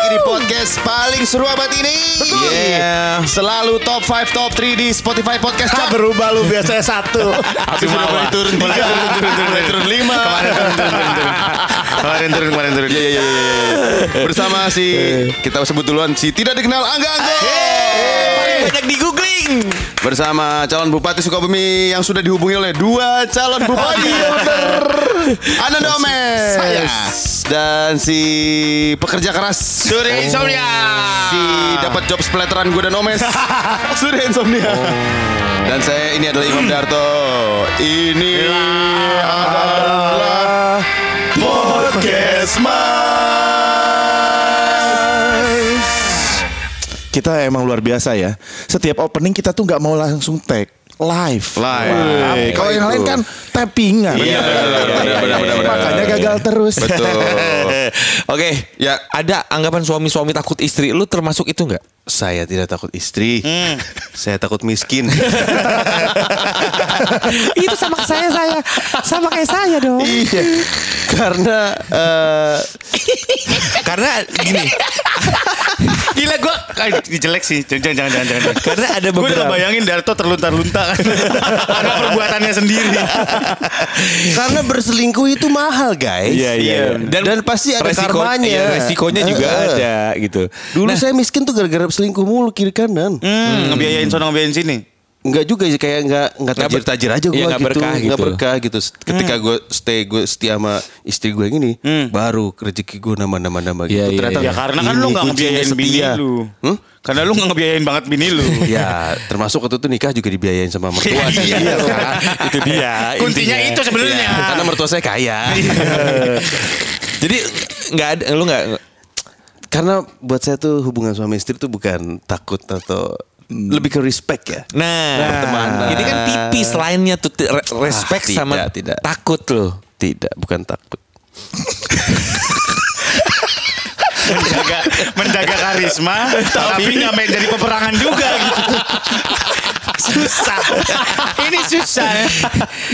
podcast paling seru abad ini. Iya. Selalu top 5 top 3 di Spotify podcast. Cak. Tak berubah lu biasanya satu. Tapi Ah, sudah mulai turun, mulai turun, turun, turun, mulai turun lima. Kemarin turun, turun, turun, turun. Kemarin turun, kemarin turun. Ya, ya, ya, ya, ya. Bersama si kita sebut duluan si tidak dikenal Angga Angga. Banyak di googling. Bersama calon bupati Sukabumi yang sudah dihubungi oleh dua calon bupati. Iya, Ana Domes. Saya. Dan si pekerja keras. Surya Insomnia. Si dapat job splatteran gue dan Omes. Surya Insomnia. Oh. Dan saya ini adalah Imam Darto. Ini adalah podcast Kita emang luar biasa ya. Setiap opening kita tuh nggak mau langsung tag live. Live. Wah, Live. Kalau yang lain kan tappingan. Iya, benar, benar, benar, benar. Makanya gagal terus. Betul. iya, Oke, Ya. ada anggapan suami-suami takut istri. Lu termasuk itu nggak? Saya tidak takut istri. Saya takut miskin. itu sama kayak saya saya sama kayak saya dong iya. Karena eh, Karena gini, Gila gua Ay, jelek sih. Jangan jangan jangan jangan. karena ada Gue udah beberapa bayangin Darto terluntar-luntar Ada perbuatannya sendiri karena berselingkuh itu mahal, guys. Iya, iya, iya. Dan, dan pasti ada resiko, karmanya. iya, resikonya juga Eh, eh. ada gitu. Dulu saya miskin tuh gara-gara selingkuh mulu kiri kanan. hmm, Ngebiayain sono ngebiayain sini Enggak juga sih kayak enggak enggak Nggak tajir ber- tajir aja iya, gua nggak gitu. berkah Nggak gitu. berkah gitu. Ketika gue stay gue setia sama istri gue yang ini, baru rezeki gue nambah-nambah nambah gitu. Iya, iya, Ternyata Ya karena kan ini lu gak kuncinya ngebiayain bini setia. lu Hmm? Karena lu gak ngebiayain banget bini lu Ya, termasuk waktu itu nikah juga dibiayain sama mertua sih. Iya, kan? itu dia. Kuncinya Ya, intinya. itu sebenarnya. Ya. Iya, Karena mertua saya kaya. Jadi nggak ada, lu nggak Karena buat saya tuh hubungan suami istri tuh bukan takut atau lebih ke respect ya. Nah, Pertemanan. ini kan tipis lainnya tuh ti- re- Ah, respect tidak, sama tidak. takut loh. Tidak, bukan takut. menjaga menjaga karisma tapi nggak main jadi peperangan juga gitu susah ini susah ya.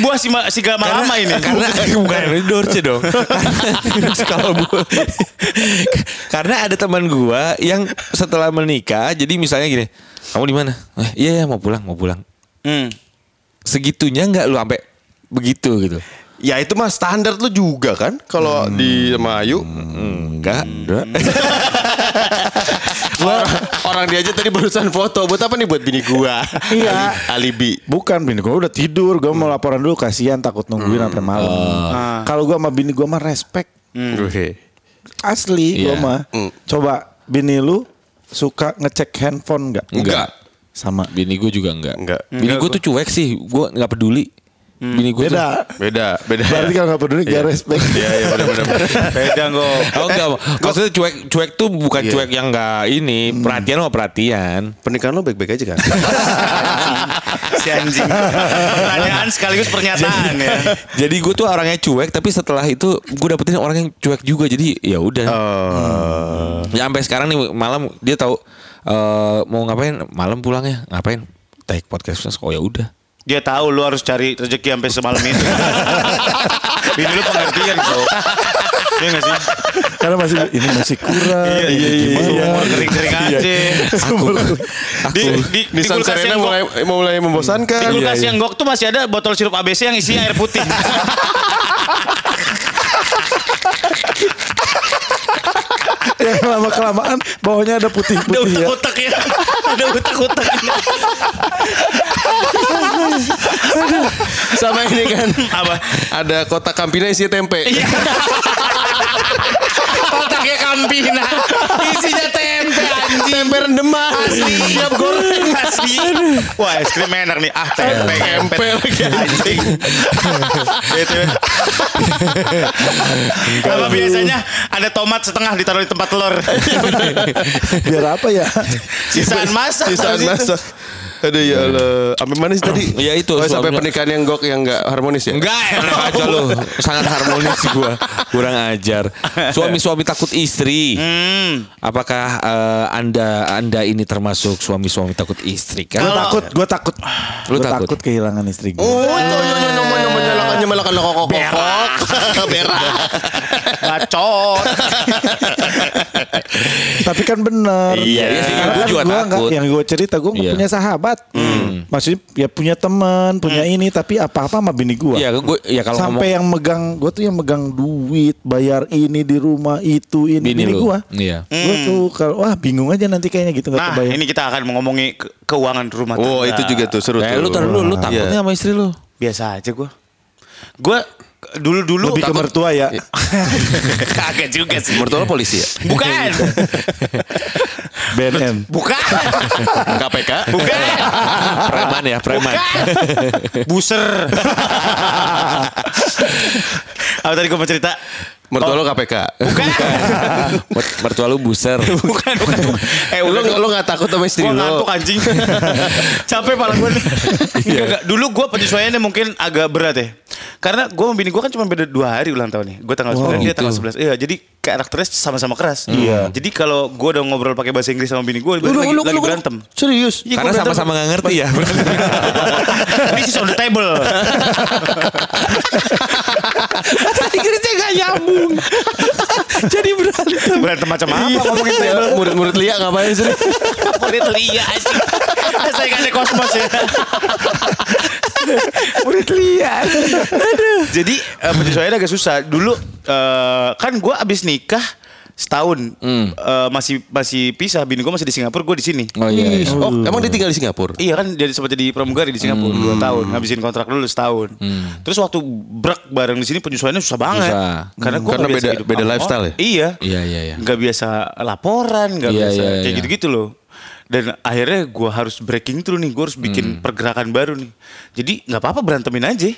buah si, ma- si gak lama ini karena bukan Dorce dong. Karena- Kalau bu- karena ada teman gua yang setelah menikah, jadi misalnya gini, kamu di mana? Eh, iya iya, mau pulang mau pulang. Hmm. Segitunya nggak lu sampai begitu gitu? Ya itu mah standar lu juga kan kalau di Mayu. Hmm. Enggak. Orang, orang dia aja tadi barusan foto buat apa nih buat bini gua? Iya. Ali- Alibi. Bukan bini gue udah tidur, gue mau laporan dulu kasihan takut nungguin sampai malam. Ah. Kalau gue sama bini gue mah respect. Oke. Asli gue Iya. mah. Coba bini lu suka ngecek handphone nggak? Enggak. Sama. Bini gue juga enggak. Enggak. Bini gue tuh cuek sih. Gue nggak peduli. Bini gue tuh. Beda. Beda, beda. Berarti kalau nggak peduli gak respect. Iya, iya benar-benar. beda kok Oh enggak, maksudnya cuek cuek tuh bukan Iya. cuek yang enggak ini, perhatian sama perhatian. Pernikahan lo baik-baik aja kan? si anjing pertanyaan sekaligus pernyataan ya Jadi gue tuh orangnya cuek, tapi setelah itu gue dapetin orang yang cuek juga. Jadi ya udah. Oh. Ya sampai sekarang nih malam dia tahu eh, mau ngapain malam pulangnya ngapain take podcast oh ya udah dia tahu lu harus cari rezeki sampai semalam itu ini lu pengertian kok Iya gak sih? Karena masih ini masih kurang. Iya, iya, iya. Sumur kering-kering aja. Sumur Di, di, di, Iya, Nissan kulkas Serena yang gua- mulai mulai membosankan. Di kulkas iya. yang gok tuh masih ada botol sirup ABC yang isinya air putih. yang lama kelamaan Ya, bawahnya ada putih ada putih ya. utak-utak ya. Ada utak-utak. sama ini kan Apa? ada kotak kampina isi tempe. Iya. Otaknya kampina. Isinya tempe anjing. Tempe rendeman. Asli. Siap goreng. Asli. Wah es krim enak nih. Ah tempe. Tempe lagi anjing. Itu. Apa biasanya ada tomat setengah ditaruh di tempat telur. Biar apa ya? Sisaan masak. Sisaan habis itu. masak. Aduh ya Allah. Sampai mana sih tadi? Ya, itu, Oh, sampai suaminya. pernikahan yang gok yang enggak harmonis ya? Enggak, enak Oh. aja lo. Sangat harmonis gue. Kurang ajar. Suami-suami takut istri. Hmm. Apakah eh, anda anda ini termasuk suami-suami takut istri? Gue Kan? takut, gue takut. Lu Gue takut? takut kehilangan istri gue. Oh, itu yo yo nomor nomor nyalakan nyalakan lo kokok kokok. Berak. Bacot. Tapi kan bener. Iya. Iya sih, gua Karena kan juga gua takut. nggak- yang gue cerita gue nggak Iya. Hmm. punya sahabat. Maksudnya ya punya teman, punya ini, tapi apa-apa sama bini gue. Iya, gue ya kalau Sampai yang megang, gue tuh yang megang duit, bayar ini di rumah itu ini Bini bini, lu. gue. Iya. Gue tuh kalau wah bingung aja nanti kayaknya gitu nggak Nah, kebayang. ini kita akan mengomongi ke- keuangan rumah tangga. Oh itu juga tuh seru Eh, tuh. lu taruh dulu, lu takutnya sama istri lu. Biasa aja gue. Gue dulu-dulu lebih ke takut- mertua ya. Iya. Kagak juga sih. Mertua lu polisi ya? Bukan. BNN. Bukan. KPK? Bukan. preman ya, preman. Bukan. Buser. Apa tadi gue mau cerita? Mertua lu KPK? Bukan. Eh, Mer- Mertua lu buser. bukan, bukan, bukan. Eh, Lu udah lu lu gak takut sama istri Gue lu? ngantuk anjing Capek pala gue Iya. Dulu gue penyesuaiannya mungkin agak berat ya Karena gue sama bini gue kan cuma beda dua hari ulang tahunnya Gue tanggal 9 gitu. dia tanggal 11 Iya jadi karakternya sama-sama keras Iya Jadi kalau gue udah ngobrol pakai bahasa Inggris sama bini gue Lagi, lagi berantem Serius. Iya, gua Karena berantem. sama-sama nggak ngerti ya. This is on the table Inggrisnya gak nyambung. Jadi berantem. Iya. Berantem macam apa ngomongin Ya, table Murid-murid Lia ngapain sih? Murid Lia anjing Saya gak ada kosmos ya Murid liar. Jadi eh, penyesuaiannya agak susah. Dulu eh, kan gue abis nikah setahun Hmm. Eh, masih masih pisah. Bini gue masih di Singapura, gue di sini. Oh iya. iya. Oh emang dia tinggal di Singapura? Iya kan jadi sempat jadi pramugari di Singapura Hmm. dua tahun, ngabisin kontrak dulu setahun. Terus waktu brak bareng di sini penyesuaiannya susah banget. Susah. Karena gue Hmm. Karena beda- beda lifestyle ya? Iya. Iya, iya, iya. Gak biasa laporan, gak Iya, biasa iya, kayak iya. gitu-gitu loh. Dan akhirnya gue harus breaking through nih, gue harus Hmm. bikin pergerakan baru nih. Jadi nggak apa-apa berantemin aja,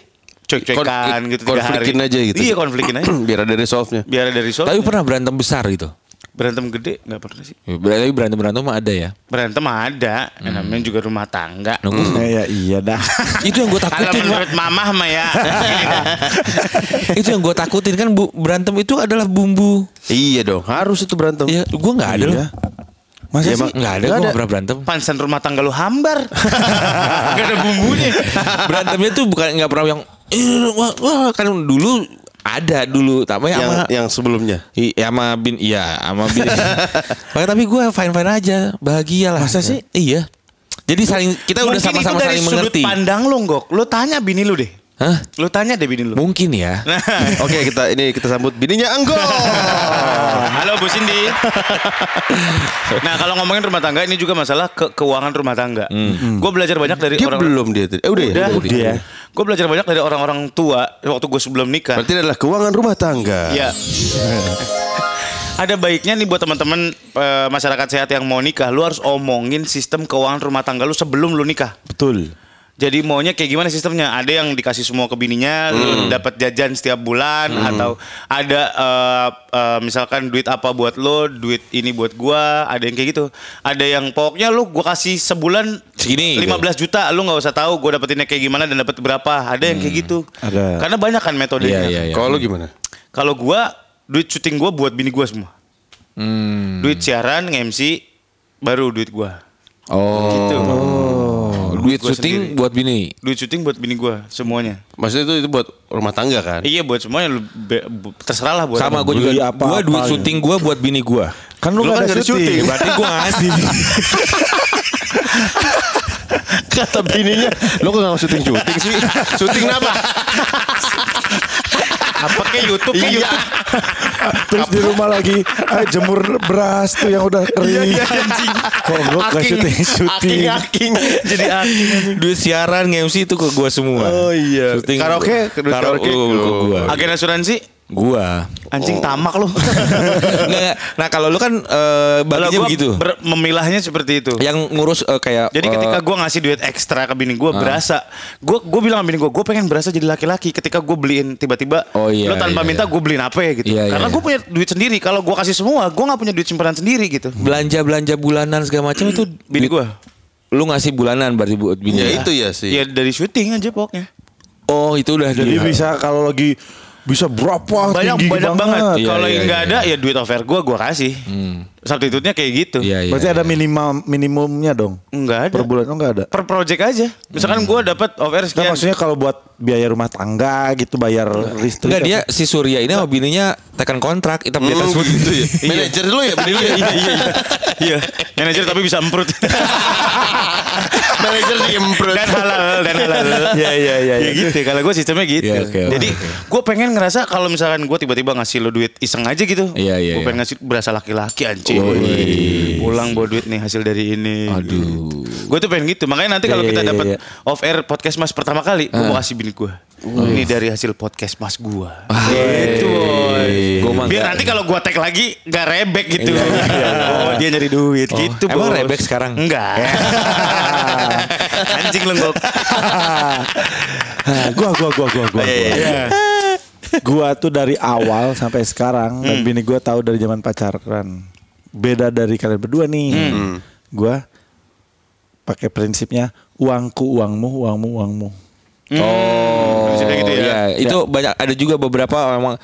cuek-cuekan Kon- gitu tiga konflikin hari. aja gitu. Iya konflikin aja. Biar ada resolve-nya. Biar dari soal Tapi pernah berantem besar gitu. berantem gede nggak pernah sih. Berarti berantem-berantem mah ada ya. Berantem ada, yang Hmm. namanya juga rumah tangga. Ya, iya dah. Itu yang gue Kalau takutin. Wak. menurut mamah mah ya. itu yang gue takutin kan bu, berantem itu adalah bumbu. Iya dong harus itu berantem. Ya, gue nggak ada loh. Masa Ya, sih? Mak, nggak ada, gue nggak pernah berantem. Pansan rumah tangga lu hambar. Gak ada bumbunya. Berantemnya tuh bukan nggak pernah yang "Eh, wah, wah," kan dulu ada dulu tapi Yang sama yang sebelumnya. I- ya sama bin iya sama bin Makanya tapi gue fine fine aja bahagia lah masa sih iya jadi saling kita udah Mungkin itu sama-sama dari saling sudut mengerti pandang lu, Gok. Lu tanya bini lu deh. Hah? Lu tanya deh bini lu. mungkin ya Nah. Oke kita ini kita sambut bininya Anggo. Halo Bu Cindy. nah kalau ngomongin rumah tangga ini juga masalah ke keuangan rumah tangga. Gue belajar banyak dari Hmm. Dia orang. belum dia tadi. Eh udah, ya? Udah, Iya. Udah. udah. Gue belajar banyak dari orang-orang tua waktu gue sebelum nikah. Berarti ini adalah keuangan rumah tangga. Iya. Ada baiknya nih buat teman-teman eh, masyarakat sehat yang mau nikah, lu harus omongin sistem keuangan rumah tangga lu sebelum lu nikah. Betul. Jadi maunya kayak gimana sistemnya? Ada yang dikasih semua ke bininya, lu Hmm. dapat jajan setiap bulan atau ada eh, eh, misalkan duit apa buat lo, duit ini buat gua, ada yang kayak gitu. Ada yang pokoknya lu gua kasih sebulan Segini, gitu. 15 juta, lu nggak usah tahu gua dapetinnya kayak gimana dan dapat berapa. Ada yang kayak gitu. Ada. Karena banyak kan metodenya. Hmm. Iya, iya, iya. Kalau lu gimana? Kalau gua duit syuting gua buat bini gua semua. Hmm. Duit siaran, nge-MC baru duit gua. oh Gitu. duit Gua syuting sendiri. buat bini Duit syuting buat bini gua semuanya. Maksudnya itu itu buat rumah tangga kan? Iya buat semuanya lu be- bu- terserah lah buat sama apa. gue Beli juga apa-apa gue duit gitu. syuting gue buat bini gue Kan lu, Lu kan nggak nggak ada ada syuting. syuting. berarti gue ngasih Kata bininya, lu kok gak mau syuting syuting sih? syuting apa? apa ke YouTube ke Iya. YouTube. Terus di rumah lagi eh, jemur beras tuh yang udah Iya, kering. anjing. Goblok gak syuting syuting. Aking, aking. Jadi aking. duit siaran nge-MC itu ke gue semua Oh, iya. Syuting- Karaoke, duit karaoke karaoke. ke gue Agen asuransi gue Oh. anjing tamak lu. nah kalau lu kan eh, Kalau baginya gua begitu ber- memilahnya seperti itu. yang ngurus eh, kayak Jadi eh, ketika gue ngasih duit ekstra ke bini Ah. gue berasa, gue gue bilang sama bini gue, gue pengen berasa jadi laki-laki. Ketika gue beliin tiba-tiba, Oh, iya, lo tanpa iya, minta iya. gue beliin apa ya gitu. Iya, iya, Karena gue iya. punya duit sendiri. Kalau gue kasih semua, gue nggak punya duit simpanan sendiri gitu. belanja-belanja bulanan segala macam itu Bini duit- gue, Lu ngasih bulanan berarti buat bini. Ya lu. itu ya sih. ya dari syuting aja pokoknya. Oh, itu udah Jadi di- bisa kalau lagi bisa berapa Banyak Oh, tinggi banyak banget. Iya, Kalau iya, yang nggak iya, ada, ya duit offer gue gue kasih. substitutenya kayak gitu. Iya, iya. Berarti ada minimal minimumnya dong. Enggak ada. Per bulan oh enggak ada. per project aja. Misalkan Hmm. gua dapat offer Nah, Iya. sekian. maksudnya kalau buat biaya rumah tangga gitu bayar listrik. Enggak dia apa? si Surya ini sama bininya tekan kontrak hitam di atas Hmm. putih. ya. Manajer lu ya bener lu ya. Iya, manajer tapi bisa emprut. Manajer di improve. dan halal dan halal. Iya iya iya. Ya iya. gitu, kalau gue sistemnya gitu. Iya, oke, oke. Jadi gue pengen ngerasa kalau misalkan gue tiba-tiba ngasih lo duit iseng aja gitu. Iya, iya, Gue iya. pengen ngasih berasa laki-laki anjing. Pulang bawa duit nih hasil dari ini. Aduh. Gue tuh pengen gitu. Makanya nanti kalau Iya, kita iya, dapat iya, off air podcast mas pertama kali, Ah. gue mau kasih bini gue. Ini dari hasil podcast mas gue. Gitu. boy. Gua mah Iya, Biar enggak. nanti kalau gue tag lagi gak rebek gitu. Oh dia nyari duit gitu. emang bos. rebek sekarang? Ya. Enggak. Anjing lenggok. Nah, gua gua gua gua Iya, gua. gua. Iya. Gua tuh dari awal sampai sekarang Hmm. dan bini gua tahu dari zaman pacaran. Beda dari kalian berdua nih. Hmm. Gua pakai prinsipnya uangku uangmu uangmu uangmu. Oh, Oh, gitu ya. iya. itu banyak ada juga beberapa memang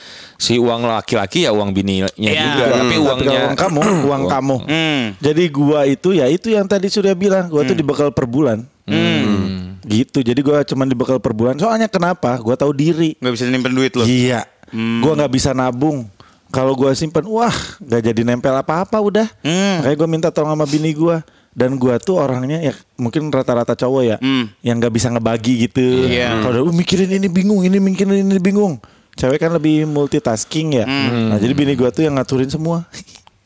si uang laki-laki ya uang bininya juga, Iya, tapi Hmm, Tapi uangnya kalau uang kamu, uang kamu. Hmm. Jadi gua itu ya itu yang tadi Surya bilang, gua tuh dibekal per bulan. Hmm. Gitu. Jadi gua cuman dibekal per bulan. Soalnya kenapa? Gua tahu diri. Gak bisa nyimpen duit lo. Iya. Hmm. Gua nggak bisa nabung. Kalau gua simpen, wah, nggak jadi nempel apa-apa udah. Hmm. Makanya gua minta tolong sama bini gua. Dan gua tuh orangnya ya mungkin rata-rata cowok ya Hmm. Iya. yang nggak bisa ngebagi gitu. Kalau "Uh, mikirin ini bingung, ini mikirin ini bingung. Cewek kan lebih multitasking ya. Hmm. Nah, jadi bini gua tuh yang ngaturin semua.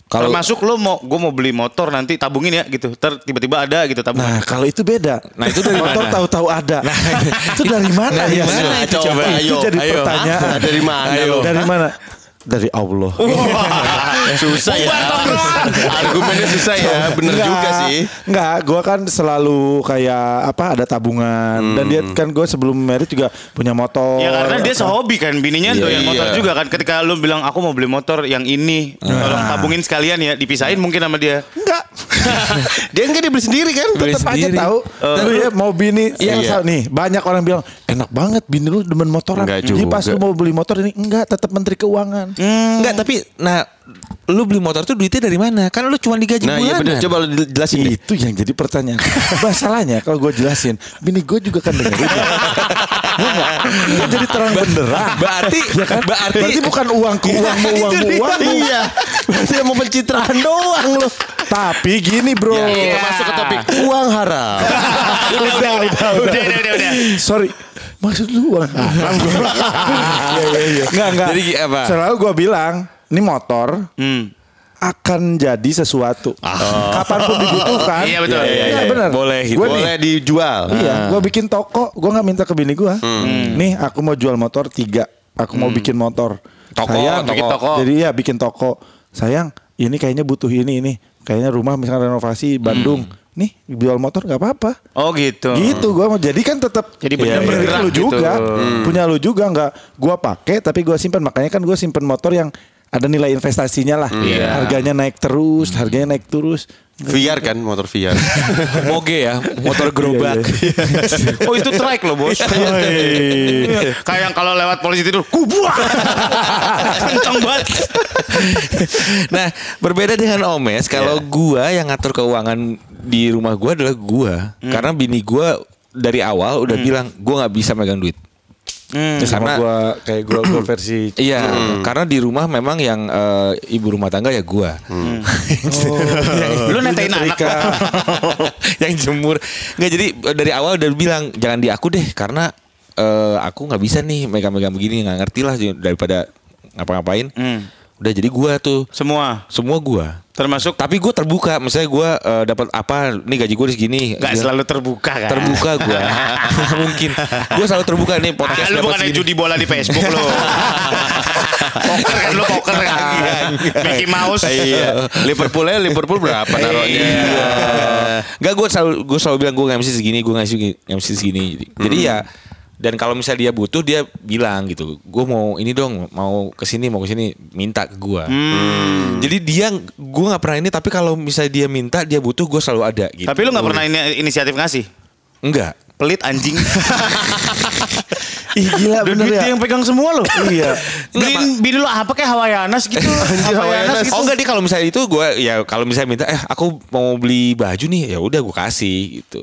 Kalau masuk lo mau, gue mau beli motor nanti tabungin ya gitu. Ter tiba-tiba ada gitu tabungan. Nah, kalau itu beda. Nah, itu dari motor mana? tahu-tahu ada. itu dari mana ya? Nah, mana itu? Itu Coba, itu ayo, jadi ayo. pertanyaan. Ah, dari mana Oh, Ayo. lo? Dari mana? Dari Allah. Susah ya. Argumennya susah ya. Bener Enggak, juga sih. Enggak, gua kan selalu kayak apa ada tabungan dan dia Hmm. kan gue sebelum merit juga punya motor. Ya karena dia Apa. sehobi kan bininya doyan motor iya. juga kan. Ketika lo bilang aku mau beli motor yang ini, tolong tabungin sekalian ya, dipisahin mungkin sama dia. enggak Ya, Dia enggak dia beli sendiri Eh. kan? Beli tetap aja sendiri. tahu. Tapi ya mau bini Iya, saya iya. tahu nih banyak orang bilang enak banget bini lu demen motoran. Enggak Jadi pas juga. lu mau beli motor ini enggak tetap menteri keuangan. Enggak, tapi nah lu beli motor tuh duitnya dari mana? Kan lu cuma digaji Nah, iya bulanan. bener. Coba lu jelasin deh. Itu yang jadi pertanyaan. Masalahnya kalau gue jelasin, bini gue juga kan dengerin. Iya nggak? Itu jadi terang benderang. Berarti Ya kan? berarti, Berarti bukan uangku, uangmu, uangmu, uangmu. Iya. Berarti mau pencitraan doang lu. Tapi gini bro. Iya, Masuk ke topik uang haram. Udah, udah, udah, Udah, udah, udah, udah. Sorry. Maksud lu uang haram gue. Iya, iya, iya. Enggak, enggak. Jadi apa? Selalu gue bilang, ini motor Hmm. akan jadi sesuatu. Kapanpun dibutuhkan. Iya, betul. Iya, iya, iya. benar. Boleh gitu. Gua nih, Boleh dijual. Iya, gue bikin toko, gue nggak minta ke bini gue. Nih, aku mau jual motor tiga, aku mau bikin motor. Toko, toko. Bikin toko. Jadi ya bikin toko. Sayang, ini kayaknya butuh ini ini. Kayaknya rumah misalnya renovasi Bandung. Nih jual motor nggak apa-apa. Oh gitu. Gitu, gue mau jadi kan tetap Jadi punya bener milik bergerak lu gitu. juga, punya lu juga nggak. Gue pakai tapi gue simpan. Makanya kan gue simpan motor yang ada nilai investasinya lah. Harganya naik terus, harganya naik terus. VR kan motor VR. moge ya, motor gerobak. Oh itu track lo bos. Kayak yang kalau lewat polisi tidur, kubuah. Kencang banget. nah, berbeda dengan Omes, kalau gua yang ngatur keuangan di rumah gua adalah gua. Karena bini gua dari awal udah bilang gua nggak bisa megang duit. Hmm, Ya, sama Karena- gue kayak gue gue versi Iya, karena di rumah memang yang eh, ibu rumah tangga ya gua. Gitu. Oh. Lu netain anak. yang jemur. Nggak jadi eh, dari awal udah bilang jangan di aku deh karena eh, aku nggak bisa nih megang-megang begini nggak ngerti lah daripada ngapa-ngapain. Hmm. Udah jadi gua tuh Semua semua gua. termasuk Tapi gua terbuka, misalnya gua eh, dapat apa nih gaji gua segini. Gak Dia- selalu terbuka kan? iya. terbuka gua. Nggak mungkin. Gua selalu terbuka nih podcast Ah, lu dapat bukan yang segini. judi bola di Facebook lo. poker kan lu poker kan. Mickey Mouse. Iya. Liverpoolnya Liverpool berapa naruhnya? Iya. Enggak gue selalu gue selalu bilang gue MC segini, gue ngasih MC segini. Jadi, jadi Hmm. ya dan kalau misalnya dia butuh dia bilang gitu. Gue mau ini dong, mau ke sini, mau ke sini, minta ke gue. Hmm. Jadi dia gue nggak pernah ini tapi kalau misalnya dia minta, dia butuh gue selalu ada gitu. Tapi lu gak pernah ini, inisiatif ngasih? Enggak. pelit anjing. Ih Udah gila bener duit ya. dia yang pegang semua loh. Iya. Beliin bini lo apa kayak Hawaiianas gitu. Hawaiianas Oh enggak dia kalau misalnya itu gue ya kalau misalnya minta eh aku mau beli baju nih ya udah gue kasih gitu.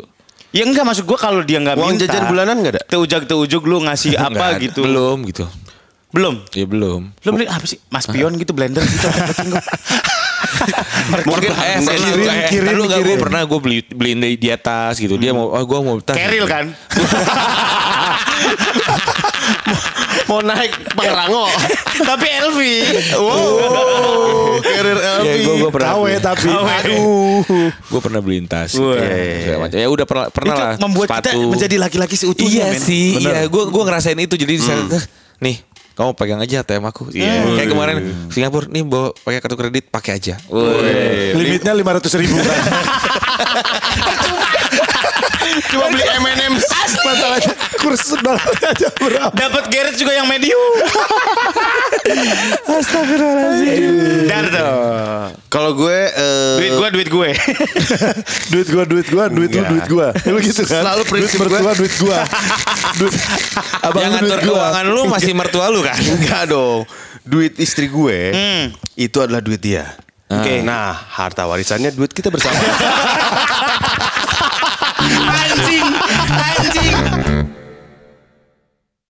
Ya enggak masuk gua kalau dia enggak minta. Uang jajan bulanan nggak ada? Teujag-teujug lu ngasih apa Enggak, gitu. Belum gitu. Belum. Ya belum. Lu beli apa sih? Mas pion gitu blender gitu. Mungkin kan? Pernah, eh pernah kirim, gue eh, kirim, lu enggak gue kirim. pernah gue beli beliin di, di atas gitu. Dia mau oh gue mau tas. Keril kan? Mau naik Pangrango. Tapi Elvi. Wow, karir LP. Ya, gue gue pernah. Kawe tapi. Aduh. Gue pernah beliin tas. gitu, Wah. segala macam. Ya udah pernah pernah Itu lah. membuat kita sepatu. menjadi laki-laki seutuhnya. Iya men. sih, iya. Gue gua ngerasain itu jadi di sana, "Eh, nih kamu pegang aja ATM aku. Iya. Kayak kemarin Singapura nih bawa pakai kartu kredit pakai aja. Limitnya 500 ribu kan. Cuma beli M&M's. Masalahnya kursus dolar aja berapa. Dapat Gareth juga yang medium. Astagfirullahaladzim. Dar tuh. Kalau gue eh, Duit gue, duit gue. Duit gua, duit gua, duit lu, duit gua. Lu gitu kan. Selalu prinsip duit mertua, duit gua. Duit Abang Yang lu ngatur duit gua. keuangan lu masih mertua lu kan? enggak dong. Duit istri gue itu adalah duit dia. Oke. Nah, harta warisannya duit kita bersama.